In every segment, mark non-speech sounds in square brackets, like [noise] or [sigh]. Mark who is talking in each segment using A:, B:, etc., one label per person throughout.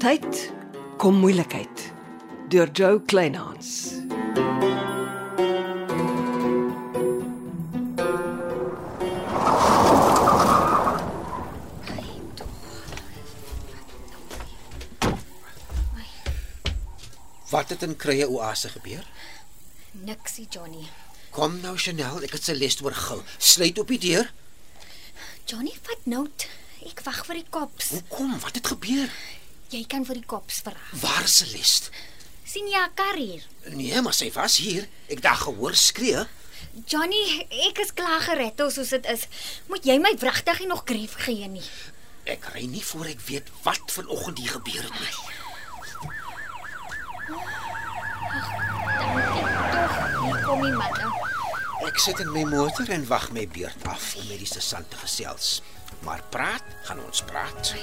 A: tyd kom moeilikheid deur Joe Kleinhans.
B: Wat het in Krye Oase gebeur?
C: Niksie Johnny.
B: Kom nou Chanel, ek het Celeste oorgil. Sluit op die deur.
C: Johnny, wat nou? t- Ek wag vir die kops.
B: Hoekom? Wat het gebeur?
C: Jy kan vir die kops vra.
B: Waar is Celeste?
C: sien jy haar kar hier?
B: Nee, maar sy was hier. Ek daag gehoor skree.
C: Johnny, ek is klaar gered hoor, soos dit is. Moet jy my wragtig nie nog grief gee nie.
B: Ek ry nie voor ek weet wat vanoggend hier gebeur het nie.
C: Dankie tog. Hier kom die man nou.
B: Ek sit in my motor en wag my beurt af om met die sergeant te gesels. Maar praat, gaan ons praat.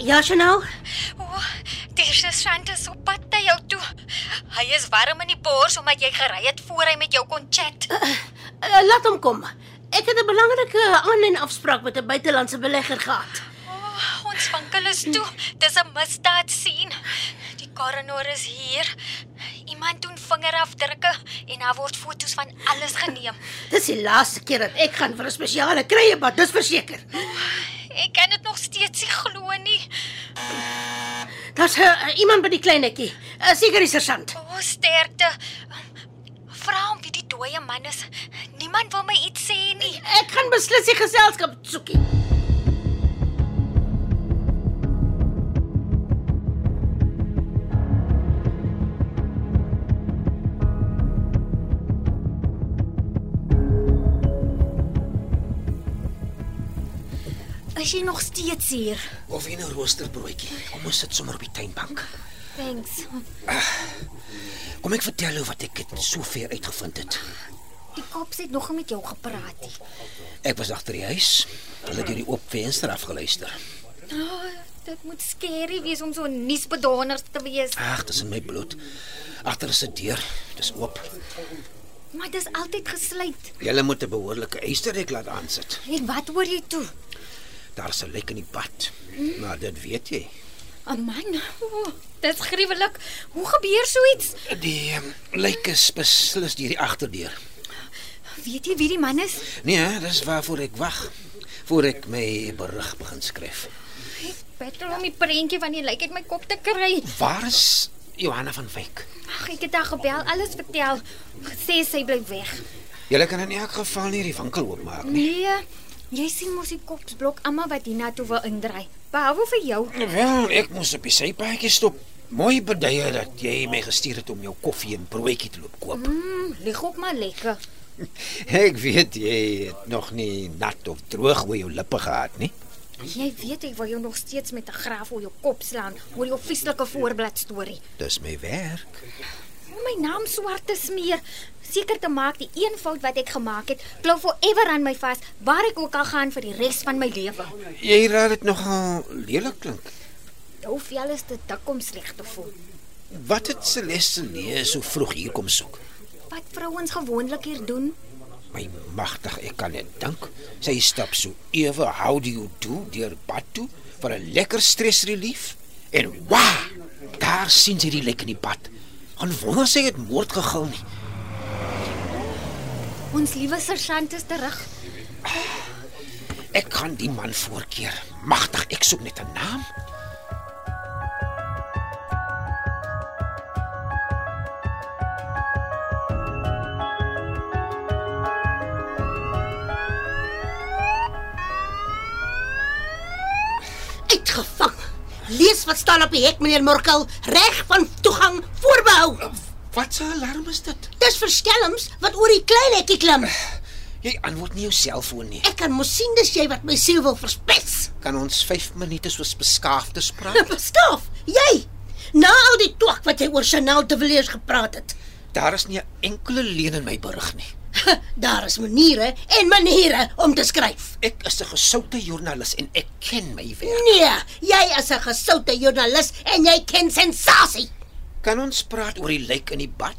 D: Ja, Chanel.
C: O, Terse Strand is op pad na jou toe. Hy is warm in die bors omdat jy gery het voor hy met jou kon chat.
D: Uh, laat hom kom. Ek het 'n belangrike aanlyn afspraak met 'n buitelandse belegger gehad.
C: O, ons winkel is toe. Dis 'n misdaad sien. Die karanoor is hier. Iemand doen vingerafdrukke en daar word foto's van alles geneem.
D: Dis die laaste keer dat ek gaan vir 'n spesiale kruiebad, dis verseker.
C: Ek kan dit nog steeds nie glo nie.
D: Daar's uh, iemand by die kleinetjie. Uh, seker die sergeant.
C: O, sterkte. Ehm, Vra hom wie die dooie man is. Niemand wil my iets sê nie.
D: Ek gaan beslis die geselskap soekie.
C: Is jy nog steeds hier?
B: Of in 'n roosterbroodjie. Kom ons sit sommer op die tuinbank.
C: Thanks.
B: Kom ek vertel jou wat ek het sover uitgevind het.
C: Die kops het nog nie met jou gepraat nie.
B: Ek was agter die huis. Hulle het deur die oop venster afgeluister.
C: Oh, dit moet skerry wees om so nuusbedoners te wees.
B: Ag, dis in my bloed. Agter is 'n deur. Dis oop.
C: Maar dis altyd gesluit.
B: Julle moet 'n behoorlike eisterrek laat aansit.
C: En wat hoor jy toe?
B: Daar's 'n lek in die bad. Maar dit weet jy.
C: 'n Man. Oh, dis gruwelik. Hoe gebeur so iets?
B: Die um, lek is beslis deur die agterdeur.
C: Weet jy wie die man is?
B: Nee, dis waarvoor ek wag. Voor ek my berig begin skryf.
C: Ek betel om die prentjie van die lijk uit my kop te kry.
B: Waar is Johanna van Wyk?
C: Ag, ek het haar gebel, alles vertel. Gesê sy bly weg.
B: Julle kan in elk geval nie die winkel oopmaak nie.
C: Nee. Jy sien mos die kopsblok almal wat hiernatoe wil indry. Behalwe vir jou.
B: Wel, ek moes op die sypaadjie stop. Mooi beduie dat jy my gestuur het om jou koffie en broodjie te loop koop.
C: Mm, lig op maar lekker.
B: Ek weet jy het nog nie nat of droog oor jou lippe gehad nie.
C: Jy weet ek wil jou nog steeds met 'n graaf oor jou kop slaan oor jou vieslike voorblad storie.
B: Dis my werk.
C: Om my naam swart te smeer, seker te maak die een fout wat ek gemaak het, klou forever aan my vas waar ek ook al gaan vir die res van my lewe.
B: Jy raad dit nogal lelik klink.
C: Jou vel is te dik om sleg te voel.
B: Wat het Celeste nee so vroeg hier kom soek?
C: Wat vrouens gewoonlik hier doen,
B: My magtig, ek kan net dink. Sy stap so ewe how do you do deur bad toe vir 'n lekker stres relief. En wa! Daar sien sy die lek in die bad. En wonder sy het moord gegil nie.
C: ons liewe sergeant is terug.
B: Ek kan die man voorkeer. Magtig, ek soek net 'n naam.
D: Uitgevang. Lees wat staan op die hek, meneer Morkel, reg van toegang voorbehou.
B: Wat 'n alarm is dit?
D: Dis verskelms wat oor die klein hekkie klim.
B: Jy antwoord nie jou selfoon nie.
D: Ek kan mos sien dis jy wat my siel wil verspes.
B: Kan ons 5 minute soos beskaafdes
D: Ja.
B: praat?
D: Verstof, jy. Na al die twak wat jy oor Chanel de Villiers gepraat het. [laughs]
B: Daar is nie 'n enkele leuen in my berig nie.
D: Daar is maniere en maniere om te skryf.
B: Ek is 'n gesoute joernalis en ek ken my werk.
D: Nee, jy is 'n gesoute joernalis en jy ken sensasie.
B: Kan ons praat oor die lijk in die bad?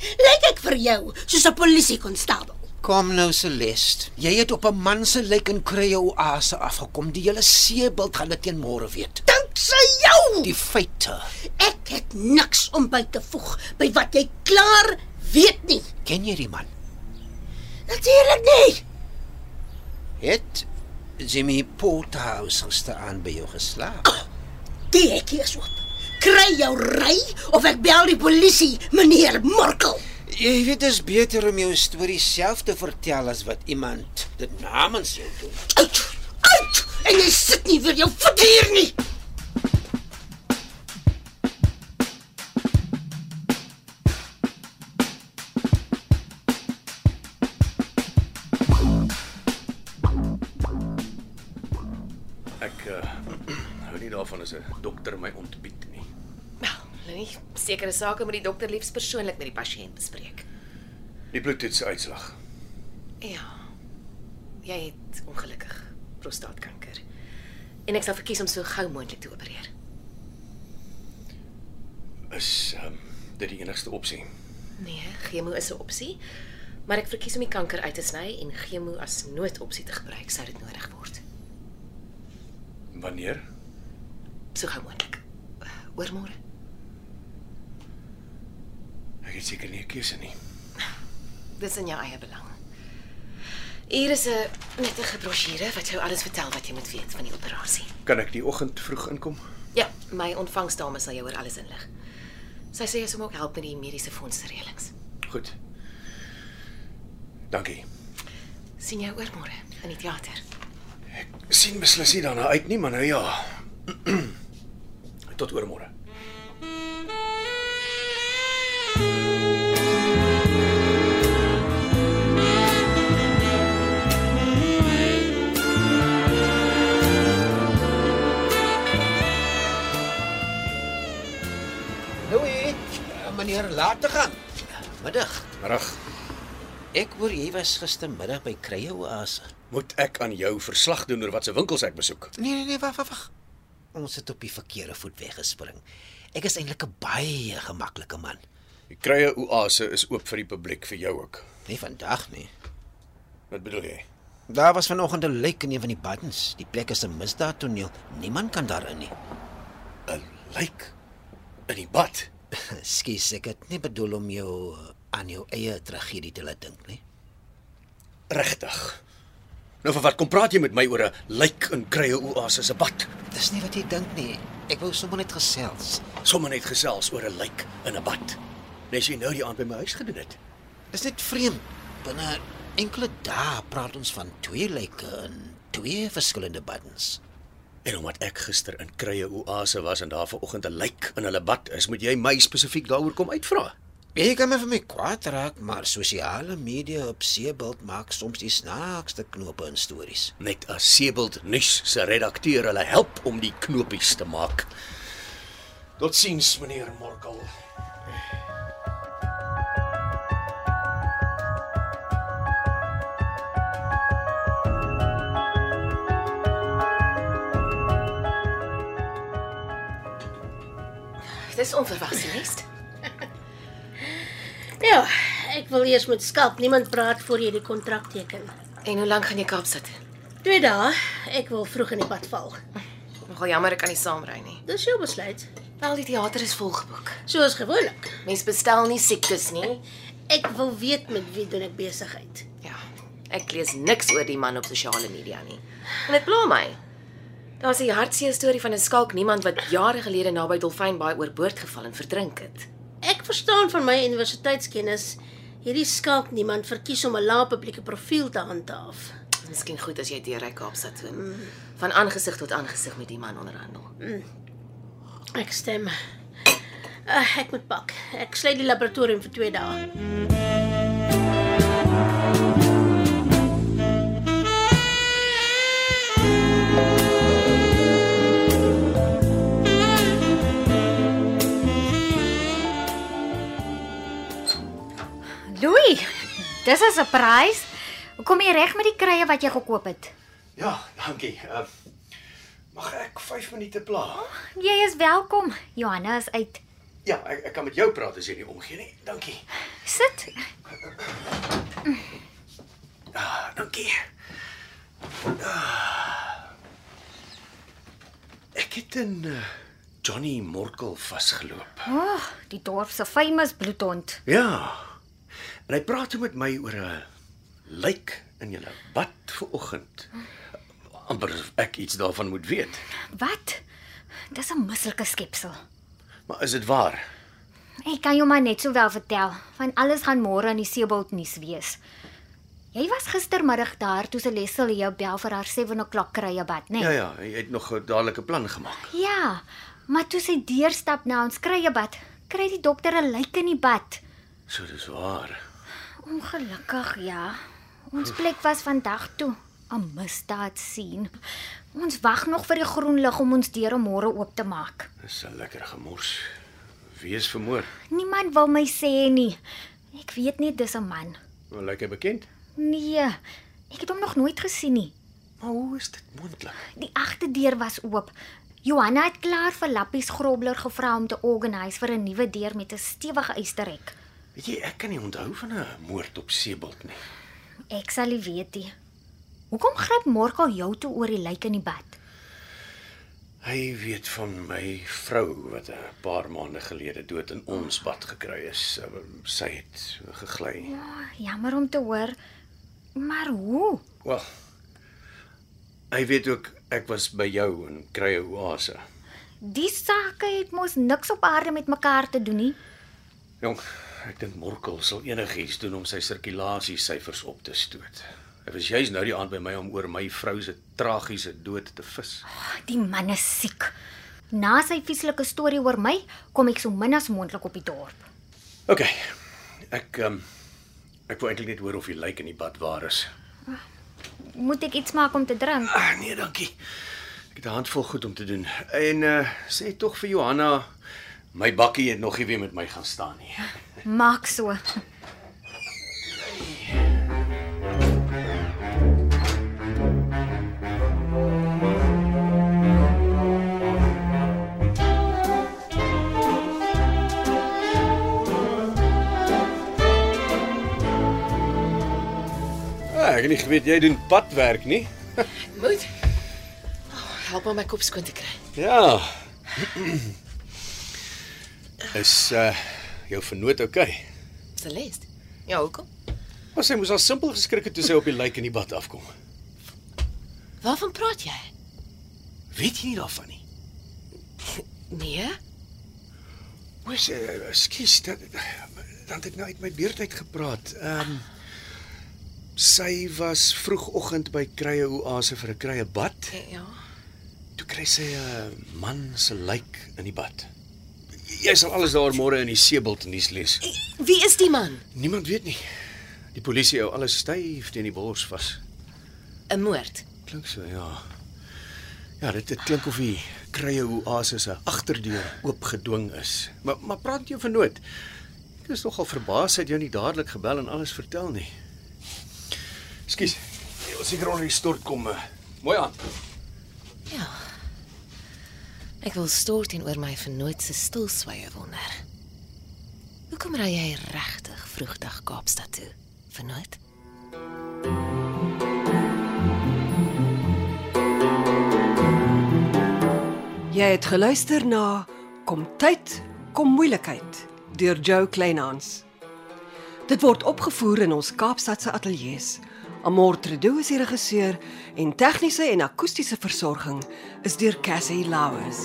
D: Lyk ek vir jou soos 'n polisiekonstabel.
B: Kom nou Celeste, jy het op 'n man se lijk in Krye Oase afgekom. Die hele seebult gaan dit teen môre weet.
D: Dank sy jou.
B: Die feite.
D: Ek het niks om by te voeg by wat jy klaar weet nie.
B: Ken jy die man?
D: Natuurlik nie.
B: Het Jimmy Porterhouse gisteraan by jou geslaap?
D: Die hekkie is oop. Kry jou ry of ek bel die polisie, meneer Morkel.
B: Jy weet dit is beter om jou storie self te vertel as wat iemand dit namens jou doen.
D: Uit, uit. En jy sit nie weer jou voet hier nie.
E: Ek uh, hou nie daarvan as 'n dokter my ontbied nie.
F: Lenny, Nou sekere sake moet die dokter liefs persoonlik met die pasiënt bespreek.
E: Die bloedtoets se uitslag.
F: Ja. Jy het ongelukkig prostaatkanker. En ek sal verkies om so gou moontlik te opereer.
E: Is um, dit die enigste opsie?
F: Nee, chemo is 'n opsie, maar ek verkies om die kanker uit te sny en chemo as noodopsie te gebruik sou dit nodig word.
E: Wanneer?
F: So gou moontlik. Oormôre.
E: Ek het seker nie 'n keuse nie.
F: Dis in jou eie belang. Hier is 'n nettige brosjure wat jou alles vertel wat jy moet weet van die operasie.
E: Kan ek die oggend vroeg inkom?
F: Ja, my ontvangsdame sal jou oor alles inlig. Sy sê jy sal my ook help met die mediese fondsreëlings.
E: Goed. Dankie.
F: sien jou oor môre in die teater.
E: Sien beslis nie daarna uit nie, maar nou ja. Tot oor môre.
B: Louis, eh, meneer, laat te gaan. Middag.
E: Middag.
B: Ek hoor jy was gistermiddag by Krye Oase.
E: Moet ek aan jou verslag doen oor wat se winkels ek besoek?
B: Nee nee nee, wag wag wag. Ons het op die verkeerde voet weggespring. Ek is eintlik 'n baie gemaklike man.
E: Die Krye Oase is oop vir die publiek vir jou ook.
B: Nie vandag nie.
E: Wat bedoel jy?
B: Daar was vanoggend 'n lijk in een van die baddens. Die plek is 'n misdaadtoneel. Niemand kan daarin nie.
E: 'n Lijk in die bad.
B: [laughs] Skus, ek het nie bedoel om jou eh, aan jou eie tragedie te laat dink nie.
E: Regtig. Nou vir wat kom praat jy met my oor 'n lijk in Krye Oase se bad?
B: Dis nie wat jy dink nie. Ek wou sommer net gesels.
E: Sommige net gesels oor 'n lijk in 'n bad. Nes jy nou die aand by my huis gedoen het.
B: Dis net vreemd. Binne enkele dae praat ons van twee lyke in twee verskillende baddens.
E: En omdat ek gister in Krye Oase was en daar vanoggend 'n lijk in hulle bad is, moet jy my spesifiek daaroor kom uitvra.
B: Ja, Jy kan my vir my kwaad raak, maar sosiale media op seebald maak soms die snaakste knope in stories.
E: Net as Sebelt nuus se redakteur hulle help om die knopies te maak. Totsiens meneer Morkel.
F: Dis onverwags, Celeste.
D: [laughs] Ja, ek wil eers met skalk niemand praat voor jy die kontrak teken.
F: En hoe lank gaan jy Kaapstad?
D: Twee dae, ek wil vroeg in die pad val.
F: Nogal jammer ek kan nie saamry nie.
D: Dis jou besluit,
F: Wel, die teater is volgeboek.
D: soos gewoonlik.
F: Mense bestel nie siektes nie.
D: Ek wil weet met wie doen ek besigheid.
F: Ja. Ek lees niks oor die man op sosiale media nie. En dit pla my. Daar's 'n hartseer storie van 'n skalk niemand wat jare gelede naby Dolfynbaai oorboord geval en verdrink het.
D: Ek verstaan van my universiteitskennis, hierdie skalk niemand verkies om 'n lae publieke profiel te handhaaf.
F: Miskien goed as jy deurry Kaapstad toe. en Van aangesig tot aangesig met die man onderhandel.
D: Ek stem. Uh, ek moet pak. Ek sluit die laboratorium vir 2 dae.
C: Louis, Dis 'n surprise. Kom jy reg met die krye wat jy gekoop het?
E: Ja, dankie. Uh, mag ek 5 minute pla?
C: Jy is welkom. Johanna is uit.
E: Ja, ek, ek kan met jou praat as jy nie omgee nie. Dankie.
C: Sit.
E: Ah, dankie. Ah. Ek het in uh, Johnny Morkel vasgeloop.
C: O, oh, die dorp se famous bloedhond.
E: Ja. En hy praat toe met my oor 'n lijk in julle bad vanoggend. amper asof ek iets daarvan moet weet.
C: Wat? Dis 'n misselike skepsel.
E: Maar is dit waar?
C: Ek kan jou maar net sowel vertel, van alles gaan môre in die Seebald nuus wees. Jy was gistermiddag daar toe Celestel jou bel vir haar 7 o'clock krye bad, né?
E: Ja ja, hy het nog 'n dadelike plan gemaak.
C: Ja, maar toe sy deurstap na ons krye bad, kry die dokter 'n lijk in die bad.
E: So dis waar.
C: Ongelukkig ja. Ons plek was vandag toe 'n misdaad sien. Ons wag nog vir die groen lig om ons deure môre oop te maak.
E: Dis 'n lekker gemors. Wees vermoor.
C: Niemand wil my sê nie. Ek weet net dis 'n man.
E: Wel lyk hy bekend?
C: Nee, ek het hom nog nooit gesien nie.
E: Maar hoe is dit moontlik?
C: Die agterdeur was oop. Johanna het klaar vir Lappies Grobler gevra om te organise vir 'n nuwe deur met 'n stewige ysterrek.
E: Weet jy, ek kan nie onthou van 'n moord op Sebald nie.
C: Ek sal nie weet nie. Hoekom gryp Morkel jou toe oor die lijk in die bad?
E: Hy weet van my vrou wat 'n paar maande gelede dood in ons bad gekry is. Ehm, Sy het gegly. Ja.
C: Oh, jammer om te hoor. Maar hoe?
E: Wel. Hy weet ook ek was by jou in Krye Oase.
C: Die sake het mos niks op aarde met mekaar te doen nie.
E: Jong, ek dink Morkel sal enigiets doen om sy sirkulasiesyfers op te stoot. Hy was juis nou die aand by my om oor my vrou se tragiese dood te vis.
C: Die man is siek. Na sy vieslike storie oor my, kom ek so min as moontlik op die dorp.
E: OK. Ek ehm um, ek wou eintlik net hoor of die lijk in die bad waar is.
C: Moet ek iets maak om te drink?
E: Ah, nee, dankie. Ek het 'n handvol goed om te doen. En uh sê tog vir Johanna, my bakkie het nog nie weer met my gaan staan nie.
C: Maak so.
E: Ah, ek het nie geweet jy doen padwerk nie.
F: Moet. Oh, help my my kop skoon te kry.
E: Ja. [clears throat] Is uh jou vernoot oukei? Okay?
F: Celeste. Ja, hoekom?
E: Maar sy moes al simpel geskrik het toe sy op die lijk in die bad afkom.
F: Waarvan praat jy?
E: Weet jy nie daarvan nie?
F: Nee.
E: Wes, uh, skus, dat dan het ek nou uit my beurt uit gepraat. Ehm um, sy was vroegoggend by Krye Oase vir 'n krye bad.
F: Ja.
E: Toe kry sy 'n man se lijk in die bad. Jy sal alles daar môre in die Seebult nuus lees.
F: Wie is die man?
E: Niemand weet nie. Die polisie hou alles styf teen die bors vas.
F: 'n Moord.
E: Klink so, ja. Ja, dit, dit klink of die krye oase se agterdeur oopgedwing is. Maar maar praat jou vernoot. Ek is nogal verbaas hy het jou nie dadelik gebel en alles vertel nie. Skus. Jy was seker onder die stort kom. eh. Mooi aan.
F: Ja. Ek wil stort teenoor my vernoot se stilswye wonder. Hoekom ry jy regtig vroegdag Kaapstad toe? Vernoot?
A: Jy het geluister na Kom tyd, kom moeilikheid deur Jo Kleinhans. Dit word opgevoer in ons Kaapstadse ateljees. Amortredo is die regisseur en tegniese en akoestiese versorging is deur Cassie Lauers.